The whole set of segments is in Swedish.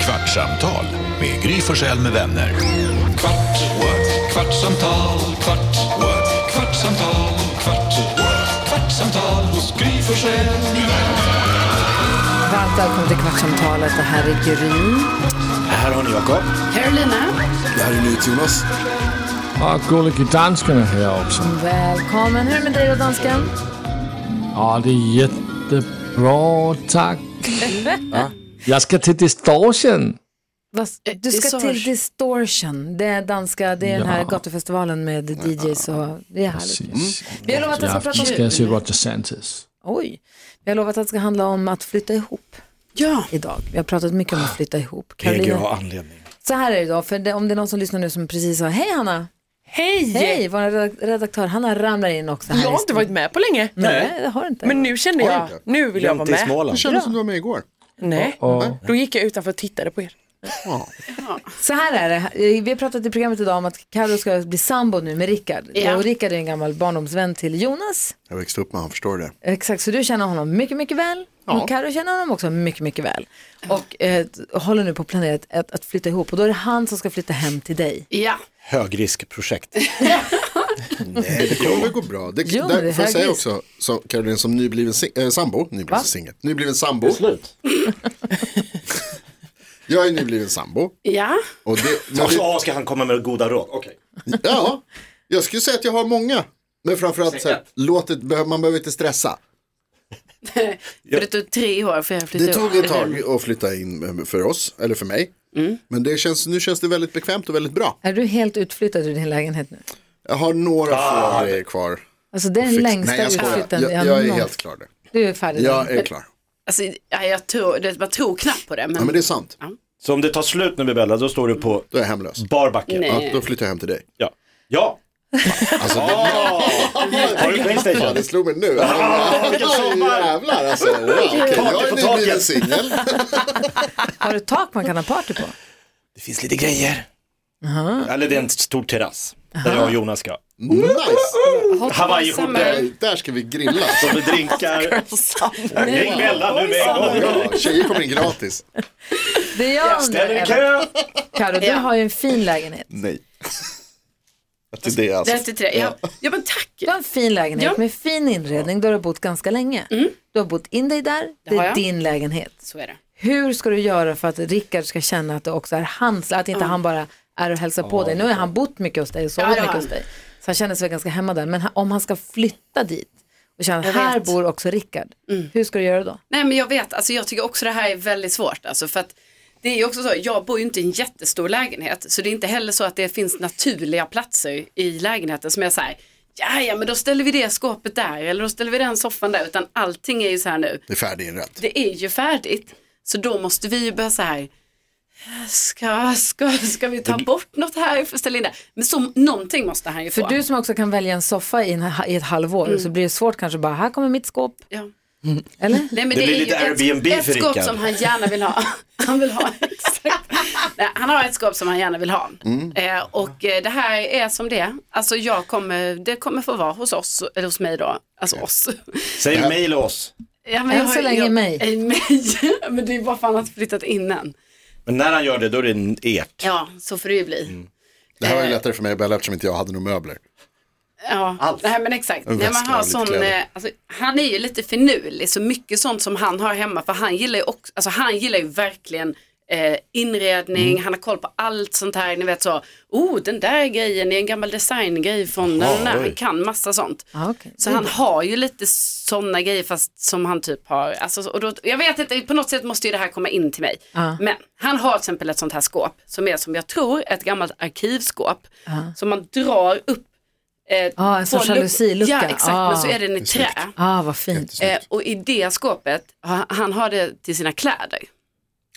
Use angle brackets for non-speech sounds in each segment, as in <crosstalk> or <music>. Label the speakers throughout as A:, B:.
A: Kvartsamtal med Gry Forssell med vänner.
B: Kvart, what? kvartsamtal, kvart, what? kvartsamtal, kvart, what? kvartsamtal hos Gry Forssell med vänner.
C: Varmt välkommen till Kvartsamtalet. Det här är Gry.
D: Här har ni Jakob.
C: Carolina.
D: Det här är NyhetsJonas.
E: Ja, gullige dansken är här också.
C: Välkommen. Hur är det med dig då, dansken?
E: Ja, det är jättebra, tack. Jag ska till distortion.
C: Vad s- Du Eh, ska
F: Distortion.
C: till Distortion. Det är danska, det är den här gatufestivalen med DJs och det är härligt.
E: Precis.
C: Vi har lovat
E: I
C: att ska prata
E: afton ska jag
C: om...
E: se Roger Santos.
C: Oj. Vi har lovat att det ska handla om att flytta ihop
F: Ja.
C: idag. Vi har pratat mycket om att flytta ihop.
D: PG
C: Carolina,
D: har anledning.
C: så här är det idag, för det, om det är någon som lyssnar nu som precis sa, hej Hanna.
F: Hej!
C: Hej, vår redak- redaktör Hanna ramlar in också. Här
F: Jag
C: i
F: har inte
C: studion.
F: varit med på länge.
C: Nej, det har du inte.
F: Men nu kände jag, nu vill jag vara
D: Jämte i
F: med.
D: Småland.
G: kändes som du var med igår.
F: Nej,
E: Och
F: då gick jag utanför och tittade på er.
C: Så här är det, Eh, vi har pratat i programmet idag om att Karo ska bli sambo nu med Rickard. Och Rickard är en gammal barndomsvän till Jonas.
G: Jag växte upp med han, förstår det.
C: Exakt, så du känner honom mycket, mycket väl. Och Karo känner honom också mycket, mycket väl. Och eh, håller nu på att planera ett- att, att flytta ihop. Och då är det han som ska flytta hem till dig.
F: Ja.
D: Högriskprojekt.
G: Det kommer väl gå bra. Det,
C: Jo, det
G: där,
C: här
G: får jag säga
C: är-
G: också, så, Caroline, som nybliven sing- eh, sambo, nybliven singel, nybliven sambo,
D: Slut.
G: <laughs> jag är nybliven sambo.
F: Ja.
G: Och det, men
D: Och
G: det,
D: så ska han komma med goda råd. Okej.
G: ja, jag skulle säga att jag har många. Men framförallt, så här, låt det, behöver- man behöver inte stressa.
H: För det tog tre år för jag
G: Det
H: flyttade
G: tog ett tag
C: Mm.
G: att flytta in eh, för oss, eller för mig. Men det känns, nu känns det väldigt bekvämt och väldigt bra.
C: Är du helt utflyttad ur din lägenhet nu?
G: Jag har några
D: Ah.
G: få grejer kvar.
C: Alltså det är den
G: Fix-
C: längsta
G: Nej, jag skojar.
C: utflytten
G: Jag, jag är helt klar där.
C: Du är färdig.
G: Jag är klar.
H: <laughs> Alltså, ja, jag tror, det, man tror knappt på det. Men,
G: Ja, men det är sant.
D: Så om det tar slut nu Bibella, då står du på
G: Då är jag hemlös.
D: barbacken.
H: Nej.
G: Ja, då flyttar jag hem till dig.
D: Ja. Ja.
G: Alltså, det- <laughs>
D: Har du
G: Ja,
D: Playstation?
G: det slog mig nu. Ah,
D: vilken sommar!
G: Jävlar alltså. Wow, okej. Jag
D: på
G: är
D: taket.
G: nybliven singel.
C: Har du ett tak man kan ha party på?
D: Det finns lite grejer. Eller det är en stor terrass. Där jag och Jonas ska.
G: Nice.
D: Hawaiiskjortor,
G: Där ska vi grilla.
D: och drinkar. Ring Bella nu med en gång.
G: Ja, tjejer kommer in gratis.
C: Det är jag undrar,
D: Ställ er i
C: Eva.
D: kö.
C: Karo, du
H: Ja.
C: har ju en fin lägenhet.
G: Nej. Det är det alltså.
H: det är inte tre. Ja, ja men tack.
C: Du har en fin lägenhet
H: Ja. Mm.
C: med fin inredning. Du har bott ganska länge. Du har bott in dig där. Det
H: har
C: är
H: jag.
C: din lägenhet.
H: Så är det.
C: Hur ska du göra för att Rickard ska känna att det också är hans, att inte han bara är och hälsar på dig. Nu har han bott mycket hos dig och sovit
H: det har
C: mycket hos
H: han.
C: dig. Så han känner sig väl ganska hemma där. Men ha- om han ska flytta dit och känna att
H: Jag
C: här
H: vet. Mm.
C: bor också Rickard. Hur ska du göra då?
H: Nej men jag vet, alltså, jag tycker också det här är väldigt svårt. Alltså, för att det är ju också så, jag bor ju inte i en jättestor lägenhet. Så det är inte heller så att det finns naturliga platser i lägenheten som är så här, ja ja men då ställer vi det skåpet där eller då ställer vi den soffan där. Utan allting är ju så här nu.
G: Det är färdiginrett.
H: det är ju färdigt. Så då måste vi ju börja så här, ska, ska, ska vi ta bort något här för att ställa in det? Men så, någonting måste han ju få.
C: För du som också kan välja en soffa i, en, ha- i ett halvår
H: Mm.
C: så blir det svårt kanske bara, här kommer mitt skåp.
H: ja.
C: Mm, Eller?
H: Nej, men
D: Det blir
H: är
D: lite
H: ju
D: Airbnb
H: ett,
D: för
H: ett skåp
D: Rickard.
H: som han gärna vill
D: <laughs>
H: ha. Han vill ha, exakt. Nej, han har ett skåp som han gärna vill ha.
D: Mm.
H: Eh, och eh, det här är som det är. Alltså jag kommer, det kommer få vara hos oss, eller hos mig då. Alltså oss. <laughs>
D: Säg mejla oss.
H: Ja, men
C: Än
H: jag har
C: så
H: ju-
C: länge
H: jag-
C: mig.
H: Eh, <laughs> mig. men det är bara för att han har flyttat innan.
D: Men när han gör det, då är det ert.
H: Ja, så får det ju
D: Mm.
H: bli.
G: Det här var ju lättare för mig Bella eftersom inte jag hade några möbler.
H: Ja, nej men exakt.
G: En
H: När man
G: väska
H: har
G: och lite
H: sån,
G: kläder.
H: eh, alltså, han är ju lite finurlig, så mycket sånt som han har hemma, för han gillar ju, också, alltså, han gillar ju verkligen eh, inredning,
G: Mm.
H: han har koll på allt sånt här, ni vet så, oh den där grejen är en gammal designgrej från den där, han kan massa sånt.
C: Ja, Ah, okej.
H: Så han har ju lite sådana grejer fast som han typ har, alltså, och då, jag vet inte, på något sätt måste ju det här komma in till mig. Men han har till exempel ett sånt här skåp som är som jag tror ett gammalt arkivskåp som man drar upp Eh,
C: Ja, en sorts
H: på luck-
C: jalusilucka.
H: Ja, exakt.
C: Ja.
H: Men så är den i trä.
C: Ah, vad fint.
G: Jättesnyggt.
H: Eh, och i det skåpet, ha- han har det till sina kläder.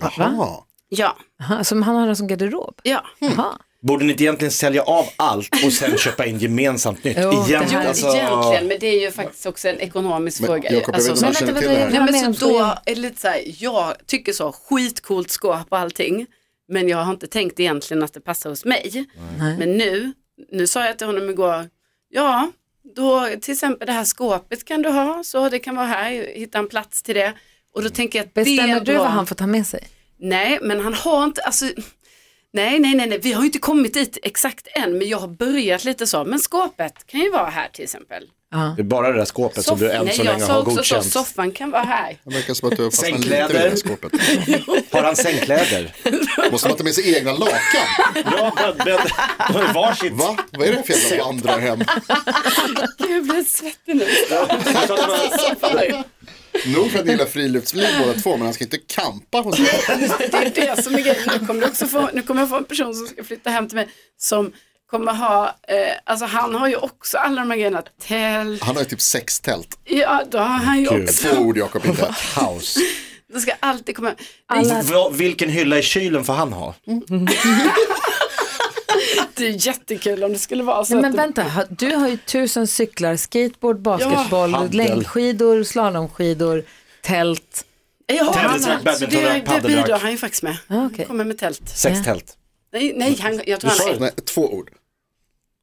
G: Jaha.
H: Ja,
C: Aha, som han har den som garderob?
H: ja.
C: Jaha.
D: Borde ni inte egentligen sälja av allt och sen köpa in gemensamt nytt?
C: Jo, det
H: Jo,
C: här-
D: alltså,
H: egentligen, men det är ju faktiskt också en ekonomisk
G: Men
H: fråga.
G: Jakob, jag vet inte om
C: men
G: du
C: vänta,
G: känner till
C: vänta,
G: det här.
C: vänta.
H: nej,
C: Vad menar
H: men
C: du
H: så då
C: frågan?
H: är det lite så här, jag tycker så, skitcoolt skåp och allting, men jag har inte tänkt egentligen att det passar hos mig. Men nu, nu sa jag till honom igår, ja, då till exempel det här skåpet kan du ha, så det kan vara här, hitta en plats till det. Och då tänker jag att det
C: Bestämmer
H: är
C: du
H: bra.
C: vad han får ta med sig?
H: Nej, men han har inte, alltså, nej, nej, nej, nej, vi har ju inte kommit dit exakt än, men jag har börjat lite så, men skåpet kan ju vara här till exempel.
D: Det är bara det där skåpet som du än
H: nej,
D: så
H: jag
D: länge
H: sa
D: har
H: också så,
D: godkänt.
H: soffan kan vara här.
G: Det verkar som att du har fastnat lite
D: Sängkläder.
G: vid det här skåpet.
D: Har han sängkläder?
G: Måste man ta med sig egna lakan?
D: ja, men, men varsitt.
G: Va? Vad är det för jävla vandrarhem?
H: Jag blir svettig nu.
G: Nog för att ni gillar friluftsliv båda två, men han ska inte kampa hos er.
H: Det är det som är grejen. Nu kommer, du också få, nu kommer jag få en person som ska flytta hem till mig som kommer ha, eh, alltså han har ju också alla de här grejerna, tält,
G: Han har ju typ sex tält.
H: ja då har han ju också,
G: Två ord Jakob inte.
D: House.
H: det ska alltid komma,
D: Va- Vilken hylla i kylen får han ha?
C: Mm.
H: det är jättekul om det skulle vara så.
C: Nej,
H: att
C: men
H: det-
C: vänta, ha- du har ju tusen cyklar, skateboard, basketboll,
D: handel.
C: längdskidor, slalomskidor, tält.
H: Jag har
D: Tennisrack,
H: annat.
D: badmintonrack,
H: det, det bidrar
D: paddelrack.
H: han ju faktiskt med.
C: Ah, okej.
H: Kommer med tält.
D: Sex tält.
H: Nej, nej han, jag tror
G: Du sa
H: han
G: nej, två ord.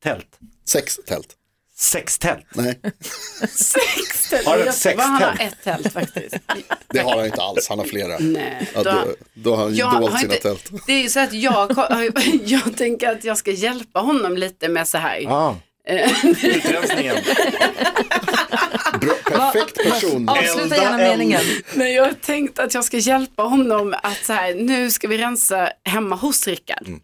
D: Tält.
G: Sex tält.
D: Sex tält.
G: Nej,
H: sex tält.
D: Har du ett
H: Jag tror
D: sex
H: bara han har
D: tält?
H: ett
G: <laughs>
H: tält faktiskt.
G: det har han inte alls. Han har flera.
H: Nej,
G: Ja,
H: då har-
G: då, då har han ju
H: Jag har
G: dolt sina
H: inte-
G: tält.
H: Det är ju så att jag, <laughs> jag tänker att jag ska hjälpa honom lite med så här.
D: Ah. <laughs> Utrensningen.
G: Bra, perfekt person.
C: Avsluta
D: Elda
C: gärna
D: eld.
C: meningen.
H: Nej, jag har tänkt att jag ska hjälpa honom att så här, nu ska vi rensa hemma hos Rickard.
G: Mm,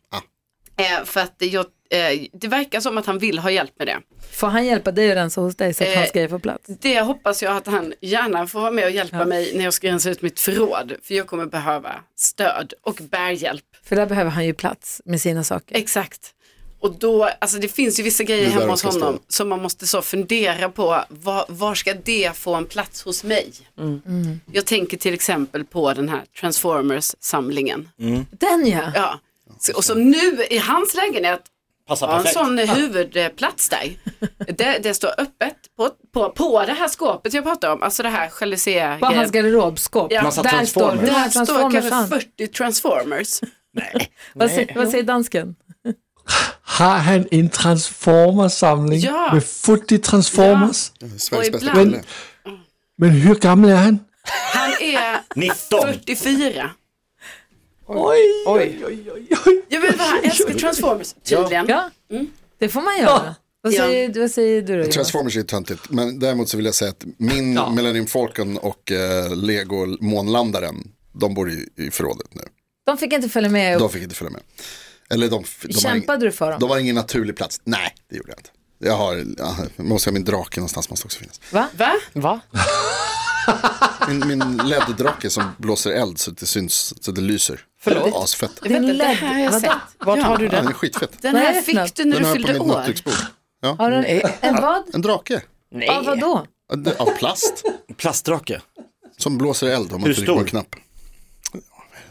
H: Eh, för att jag, eh, det verkar som att han vill ha hjälp med det.
C: Får han hjälpa dig att rensa hos dig så att
H: Eh,
C: hans grejer får plats?
H: Det hoppas jag att han gärna får vara med och hjälpa mig när jag ska rensa ut mitt förråd. För jag kommer behöva stöd och bärhjälp.
C: För där behöver han ju plats med sina saker.
H: Exakt. Och då, alltså det finns ju vissa grejer
G: Det är där
H: hemma
G: de
H: hos
G: ska
H: honom
G: stå.
H: som man måste så fundera på, var, var ska det få en plats hos mig?
C: Mm.
H: Mm. Jag tänker till exempel på den här Transformers-samlingen.
G: Mm.
C: Den ja!
H: Ja. Så, och som nu i hans lägenhet
D: Passar
H: har en
D: perfekt.
H: sån huvudplats där. det, det står öppet på, på, på det här skåpet jag pratar om, alltså det här gelisé
C: På hans garderobskåp.
H: Eh, Ja.
D: Massa
C: Där står,
D: transformers.
C: där
H: Där
C: har
H: står
C: transformers.
H: kanske
C: han.
H: 40 Transformers.
C: Vad, säger, vad säger
H: Mm.
C: dansken?
E: Har han en Transformers-samling
H: Ja.
E: med 40 Transformers?
G: Sveriges
H: Och
G: bästa
H: ibland-
G: kille.
E: Men hur gammal är han?
H: Han är
D: 19.
H: 44.
E: Oj, oj, oj, oj, oj.
H: Jag vill vara älskar Transformers, tydligen.
C: Ja, det får man göra. Vad
H: Mm. Ja.
C: säger, vad säger du då? Jonas?
G: Transformers är ju töntigt, men däremot så vill jag säga att min Millennium Falcon och eh, Lego månlandaren, de bor i, i förrådet nu.
C: De fick inte följa med.
G: De fick inte följa med. Eller de, f- de har
C: Kämpade du för dem?
G: De har ingen naturlig plats. Nej, det gjorde jag inte. Jag har, ja, måste ha min drake någonstans, måste också finnas.
C: Va?
H: Va?
F: Va?
G: Min,
H: <laughs>
G: min LED-drake som blåser eld så att det syns, så att det lyser. Förlåt? Asfett.
C: Det är en
H: Vänta, det
C: LED.
H: här har jag
C: Vadå?
H: sett.
F: Vart har du
G: Den
F: den?
G: är skitfett.
H: Den
C: Vad är
H: här
C: det för något?
H: fick du när
G: Den
H: du
G: har jag på
H: fyllde
G: mitt
H: år.
G: nattduksbord. Ja,
C: Har du en, en vad?
G: en drake.
C: Av vadå?
G: Av av plast.
D: Plastdrake.
G: Som blåser eld om man
D: Hur
G: trycker på en
D: stor?
G: knapp.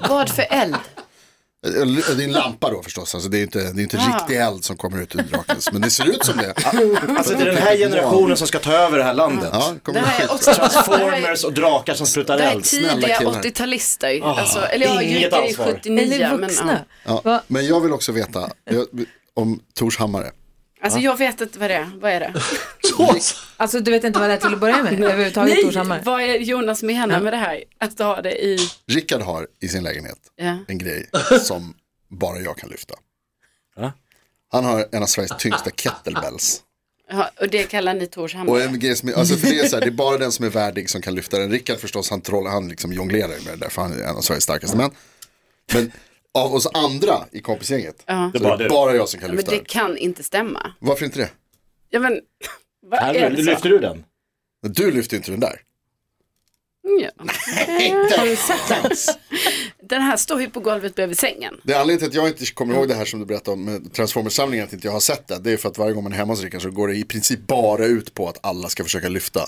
H: Vad för eld?
G: Eh, Det är en lampa då förstås, alltså det är ju inte, det är inte
H: Ah.
G: riktig eld som kommer ut ur drakens, men det ser ut som det.
D: Alltså det är den här generationen som ska ta över det här landet. Alltså,
G: Ja, det kommer
H: Det
G: bli
H: här är
G: skit.
H: också det här är-
D: Formers och drakar som sprutar
H: det här är
D: eld.
C: typ-
H: tidiga
G: killar.
H: 80-talister. Alltså, eller jag
D: Inget
H: Jyrka är
D: ansvar.
H: 79.
C: Eller
H: men,
C: vuxna?
H: ja.
G: Ja, men jag vill också veta jag, om Torshammare.
H: Alltså jag vet inte vad det är. Vad är det?
C: Alltså du vet inte vad det är till att börja
H: <laughs>
C: med överhuvudtaget Torshammar?
H: vad är Jonas menar med det här? Att ha det i...
G: Rickard har i sin lägenhet
H: Ja.
G: en
H: <laughs>
G: grej som bara jag kan lyfta. Han har en av Sveriges tyngsta kettlebells.
H: Ja, Och det kallar ni
G: Och
H: Torshammar?
G: en grej som, är- alltså för det, är så här, det är bara den som är värdig som kan lyfta den. Rickard förstås, han, troll, han liksom jonglerar med det där, för han är en av Sveriges starkaste män. Men av oss andra i kompisgänget, så
D: Det är bara
G: det
D: du.
G: är bara jag som kan
H: Men
G: lyfta
H: det
G: den.
H: kan inte stämma.
G: Varför inte det?
H: Ja men, vad är
D: Här,
H: det så?
D: lyfter du den?
G: Men du lyfter ju inte den där.
H: mm, Ja. Den här står ju på golvet bredvid sängen.
G: Det är anledningen till att jag inte kommer
H: Mm.
G: ihåg det här som du berättade om med Transformers-samlingen, att inte jag har sett det. Det är för att varje gång man är hemma hos Rickard så går det i princip bara ut på att alla ska försöka lyfta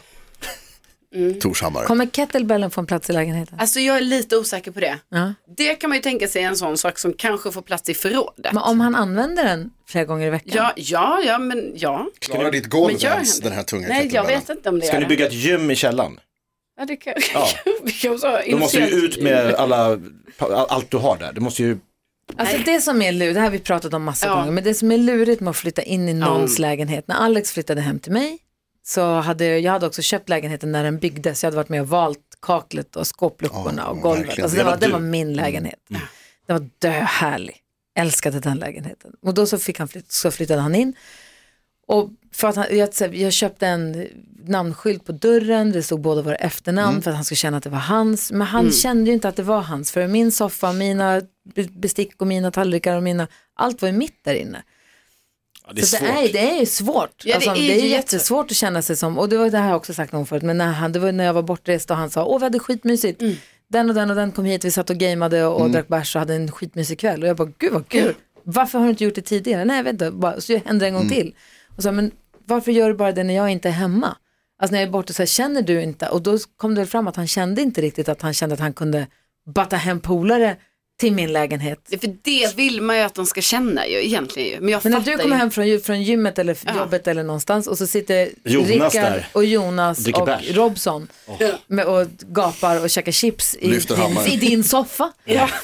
H: Mm.
G: Torshammare.
C: Kommer kettlebellen få en plats i lägenheten?
H: Alltså jag är lite osäker på det.
C: Ja.
H: Det kan man ju tänka sig är en sån sak som kanske får plats i förrådet.
C: Men om han använder den flera gånger i veckan?
H: Ja, ja, ja, men ja.
G: Klarar ditt
H: Men
G: golv
H: gör
G: ens
H: han
G: den här tunga
H: Nej, jag
G: kettlebellen?
H: vet inte om det
D: Ska
H: gör
D: ni
H: det.
D: bygga ett gym i källaren?
H: Ja, <laughs> det kan...
D: Ja.
C: <laughs>
H: vi kan så
D: Då måste ju ut med alla, allt du har där. Det måste ju,
C: Alltså det som är lurigt, det här har vi pratat om massa
H: Ja.
C: gånger, men det som är lurigt med att flytta in i någons lägenhet, när Alex flyttade hem till mig så hade jag, jag hade också köpt lägenheten när den byggdes, jag hade varit med och valt kaklet och skåpluckorna
G: Ja,
C: och
G: ja,
C: golvet.
G: verkligen.
C: Alltså, det, var,
G: Hela
C: det var
G: du.
C: min lägenhet. Det var döhärlig. Älskade den lägenheten. Och då så, fick han flyt, så flyttade han in. Och för att han, jag, jag köpte en namnskylt på dörren, det stod båda våra efternamn för att han skulle känna att det var hans. Men han kände ju inte att det var hans, för min soffa, mina be- bestick och mina tallrikar och mina, allt var ju mitt där inne.
D: Ja, det är
C: Så det, är,
D: svårt.
C: det är ju svårt.
H: Ja, det
C: alltså,
H: är
C: det, är
H: ju
C: ju
H: jättesvårt.
C: jättesvårt att känna sig som, och det var det här har jag också sagt någon förut, men när han, det var när jag var bortrest och han sa, åh vi hade skitmysigt.
H: Mm.
C: Den och den och den kom hit, vi satt och gameade och,
D: Mm.
C: och drack bärs och hade en skitmysig kväll. Och jag bara, gud vad kul, varför har du inte gjort det tidigare? Nej, jag vet inte, bara, så hände det en gång
D: Mm.
C: till. Och så, men varför gör du bara det när jag inte är hemma? Alltså när jag är borta, så här, känner du inte? Och då kom det väl fram att han kände inte riktigt att han kände att han kunde batta hem polare till min lägenhet.
H: Det- För det vill man ju att de ska känna ju egentligen ju. Men jag
C: Men när
H: fattar
C: du kommer
H: ju.
C: hem från, ju- från gymmet eller
H: Ja.
C: jobbet eller någonstans och så sitter
D: Jonas
C: Rickard
D: där.
C: och Jonas
D: Dricker
C: och
D: bärs.
C: Robson med, och gapar och käkar chips i
G: Lyfter
C: din,
G: hammaren.
C: i din soffa.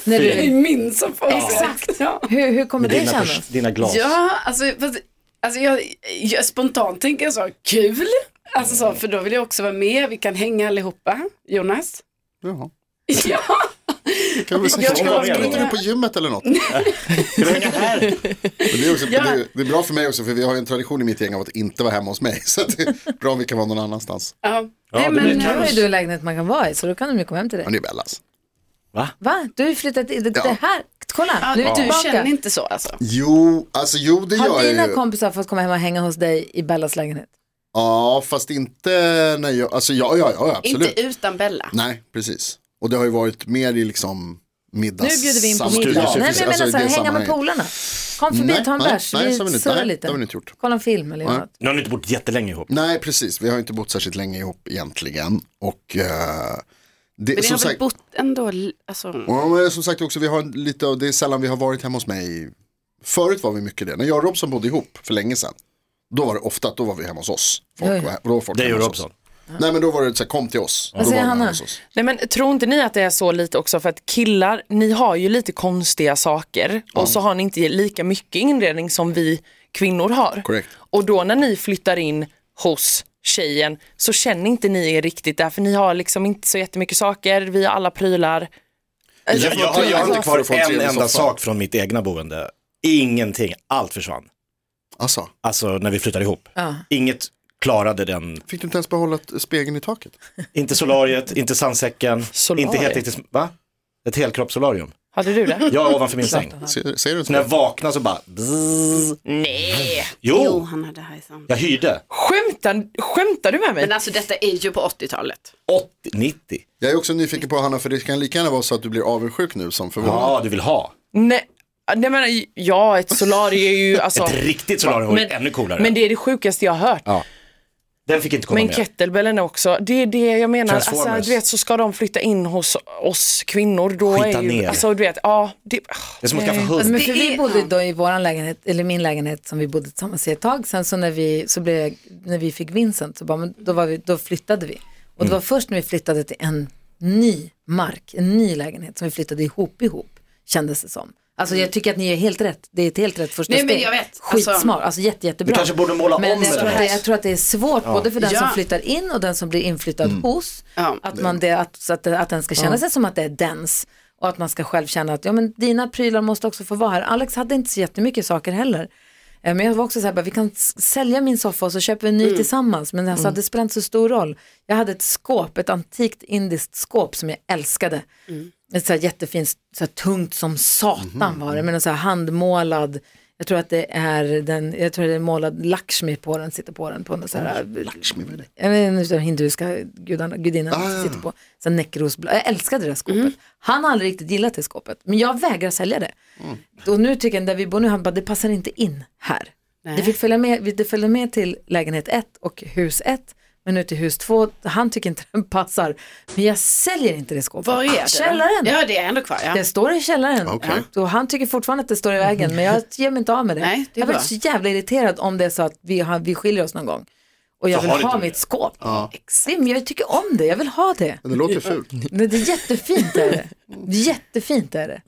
C: När
F: I
C: du,
F: min soffa.
H: Exakt.
F: Ja.
C: hur, hur kommer
D: Med
C: det
D: dina,
C: kännas?
D: pers- dina glas.
H: Ja, alltså, fast, alltså jag, jag, spontant tänker jag så, kul. Alltså så, för då vill jag också vara med, vi kan hänga allihopa. Jonas?
G: Jaha.
H: <laughs> Ja,
G: Kan vi
H: Jag
G: kanske
H: ska
G: ska
H: vara
G: inte
H: med.
G: du på gymmet eller något? Men
D: Ska du hänga här?
G: det, är också,
H: Ja.
G: det, det är bra för mig också för vi har ju en tradition i mitt gäng av att inte vara hemma hos mig. <laughs> Så att det är bra om vi kan vara någon annanstans.
H: ja.
D: det
H: Nej,
D: blir
H: men,
C: Nu har
D: kaos.
C: ju du en lägenhet man kan vara i så då kan de ju komma hem till dig.
G: Men det är alltså. Bellas.
C: Va? Du har ju flyttat in, det,
G: Ja.
C: det här, kolla, nu är vi
H: du känner
C: tillbaka.
H: inte så alltså?
G: Jo, alltså jo det
C: Har
G: gör
C: dina
G: jag ju.
C: kompisar fått komma hem och hänga hos dig i Bellas lägenhet?
G: Ja, fast inte när jag, alltså ja, ja, ja absolut.
H: Inte utan Bella.
G: Nej, precis. Och det har ju varit mer i liksom
C: Nu
G: middags...
C: bjuder vi in på
G: sammanhang.
C: middag. Nej
G: Ja,
C: men
G: precis.
C: jag menar så här,
G: i alltså, det
C: hänga med
G: sammanhanget.
C: polarna. Kom förbi,
G: Nej,
C: ta en
G: nej,
C: bärs,
G: nej, så har vi
C: vi
G: inte-
C: surrar
G: nej,
C: lite.
G: det har vi inte gjort.
C: Kolla en film eller
G: Nej.
C: något.
D: Nu har ni inte bott jättelänge ihop.
G: Nej, precis. Vi har inte bott särskilt länge ihop egentligen. Och eh, det,
H: Men ni
G: som,
H: har väl
G: sagt,
H: bott ändå, alltså,
G: Ja, men som sagt också, vi har lite av, det är sällan vi har varit hemma hos mig. Förut var vi mycket det. När jag och Robson bodde ihop för länge sedan. Då var det ofta att då var vi hemma hos oss. Folk,
C: Ja, ja.
G: var he- då var folk
D: Det
G: hemma
D: gör
G: hos
D: Robson.
G: oss. Nej men då var det så här, kom till oss. Då
C: säger
G: var vi
C: Hanna?
G: hemma hos oss.
F: Nej men tror inte ni att det är så lite också för att killar, ni har ju lite konstiga saker och så har ni inte lika mycket inredning som vi kvinnor har.
G: Korrekt.
F: Och då när ni flyttar in hos tjejen så känner inte ni er riktigt där för ni har liksom inte så jättemycket saker, vi har alla prylar.
D: Jag, jag, har- jag har inte
G: Varför får
D: kvar
G: en
D: en
G: trevlig soffa?
D: enda sak från mitt egna boende. Ingenting, allt försvann.
G: Alltså,
D: Alltså när vi flyttade ihop.
C: Ja.
D: Inget klarade den.
G: fick du inte ens behålla t- spegeln i taket?
D: Inte solariet, inte sandsäcken,
F: Solarium?
D: inte helt riktigt, va? Ett helkroppssolarium.
F: Hade
C: <laughs>
F: du det?
D: Jag ovanför min säng.
G: Ser, ser du inte
D: Så när jag
G: det?
D: vaknade så bara... Bzzz.
F: Nej!
H: jo,
D: Jo,
H: han hade hajsan.
D: jag hyrde.
F: Skämtar, skämtar du med mig?
H: Men alltså detta är ju på 80-talet.
D: 80, 90.
G: Jag är också nyfiken på Hanna, för det kan lika gärna vara så att du blir avundsjuk nu som förvånad.
D: Ja, du vill ha.
F: Nej, nej men ja, ett solarium är ju alltså...
D: Ett riktigt solarium var ju ännu coolare.
F: Men det är det sjukaste jag har hört.
D: den fick inte komma
F: Men
D: med.
F: kettlebellen också, det är det jag menar.
D: Transformers.
F: Alltså, du vet, så ska de flytta in hos oss kvinnor. Då
D: Skita
F: är ju,
D: ner.
F: Alltså, du vet, ja, det,
D: Det är som att skaffa hund.
C: Alltså, men för
H: Det
C: vi
H: är-
C: bodde
H: ja.
C: då i våran lägenhet, eller min lägenhet som vi bodde tillsammans i ett tag. Sen så när vi, så blev jag, när vi fick Vincent, så bara, men då, var vi, då flyttade vi. Och det
D: Mm.
C: var först när vi flyttade till en ny mark, en ny lägenhet som vi flyttade ihop ihop, kändes det som. Alltså jag tycker att ni är helt rätt, det är ett helt rätt första
H: Mm. Nej, men
C: steg.
H: jag vet. Alltså-
C: Skitsmart, alltså jätte, jättebra.
D: Du kanske borde måla
C: men
D: om
C: jag
D: det
C: tror,
D: där.
C: att det, jag tror att det är svårt både för den
H: Ja.
C: som flyttar in och den som blir inflyttad hos.
H: Ja.
C: Att, man det, att, så att, att den ska känna sig som att det är dens. Och att man ska själv känna att ja, men dina prylar måste också få vara här. Alex hade inte så jättemycket saker heller. Eh, Men jag var också så här, bara, vi kan s- sälja min soffa och så köper vi en ny tillsammans. Men alltså, det spelar inte så stor roll. Jag hade ett skåp, ett antikt indiskt skåp som jag älskade. Ett så här jättefint, så här tungt som satan var det. Men en så här handmålad, jag tror att det är den, jag tror det är målad Lakshmi på den, sitter på den. På den så här, Lakshmi, vad är det? Jag vet inte, den hinduiska gudarna, gudinnan sitter på. Så här nekrosblå. Jag älskade det där skåpet.
H: Mm.
C: Han har aldrig riktigt gillat det skåpet, men jag vägrar sälja det. Och nu tycker jag, där vi bor nu, han bara, det passar inte in här. Det fick följa med, vi- det följde med till lägenhet 1 och hus 1, men nu till hus 2, han tycker inte <laughs> den passar. Men jag säljer inte det skåpet.
H: Var är det?
C: Källaren!
H: Ja, det är ändå kvar. Ja.
C: Det står i källaren.
G: Okej.
C: Och han tycker fortfarande att det står i vägen, men jag ger mig inte av med det.
H: Nej, det är
C: jag blir
H: bra.
C: så jävla irriterad om det är så att vi, har, vi skiljer oss någon gång. Och jag
D: Så har
C: vill
D: du
C: ha
D: inte
C: mitt
D: det.
C: skåp. Exakt. Men jag tycker om det, jag vill ha det.
G: Men det låter fult.
C: Men det är jättefint är det. Jättefint är det.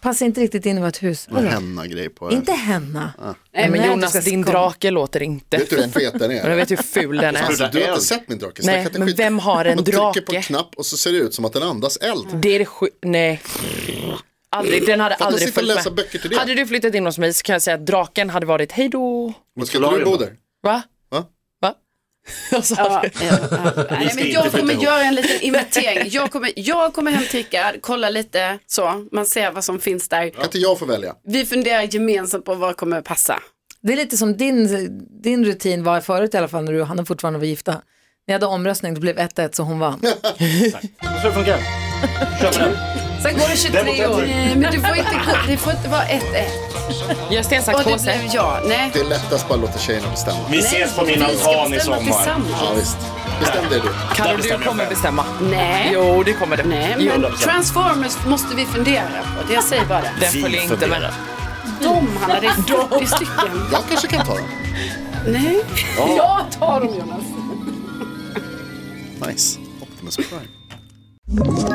C: Passar inte riktigt in i vårt hus.
G: Någon henna-grej på det.
C: Inte henna. Nej,
F: Nej, men
C: jag
F: Jonas,
C: ska
F: din
C: komma.
F: drake låter inte
G: Vet du hur
F: fin.
G: fet den
F: Men Jag
G: är?
F: vet hur ful den
G: Alltså,
F: är.
G: du har inte sett min drake.
F: Nej,
G: Snacka inte
F: men
G: skit.
F: vem har en
G: Man trycker på
F: drake? Mm.
G: en knapp och så ser det ut som att den andas eld.
F: Det är det sju- Nej. Aldrig, den hade
G: Fattar
F: aldrig
G: sitta och
F: följt
G: läsa
F: med.
G: böcker till det.
F: Hade du flyttat in hos mig så kan jag säga att draken hade varit hej då.
G: Men ska inte du bo där?
F: Va?
G: Va?
F: Va? <laughs> Alltså, Jag sa
H: Ja,
F: det.
H: <laughs> ja, ja. Nej, men jag kommer
D: ihop.
H: göra en liten inventering. Jag kommer, jag kommer hemtrycka, kolla lite så, man ser vad som finns där.
G: Kan inte jag få välja?
H: Vi funderar gemensamt på vad kommer passa.
C: Det är lite som din, din rutin var förut i alla fall när du och Hanna fortfarande var gifta. Ni hade omröstning, det blev 1-1 så hon vann.
D: Så det funkar. Kör på den.
C: Sen går det 23 år.
H: Nej, men det får inte, gå- det får inte vara ett, ett.
F: Gör sten,
H: Och
F: sax,
H: det
F: påse.
H: blev jag. Nej.
G: Det är lättast bara att låta tjejerna bestämma.
D: Vi ses på min
H: Vi ska
D: altan i
H: bestämma
D: sommar.
G: Ja,
H: tillsammans.
G: visst. Bestäm dig du.
F: Kan
D: Där
F: du,
D: bestämmer jag
F: kommer
D: själv.
F: bestämma.
H: Nej.
F: Jo, det kommer det.
H: Nej,
F: jo,
H: men
D: 100%.
H: Transformers måste vi fundera på. Det jag säger bara det.
F: den
D: Vi
F: följer inte
D: funderar.
F: med.
H: De Hanna, det är 40 stycken.
G: Jag kanske kan ta den.
H: Nej. Jag tar dem Jonas.
G: Nice. Optimus Prime.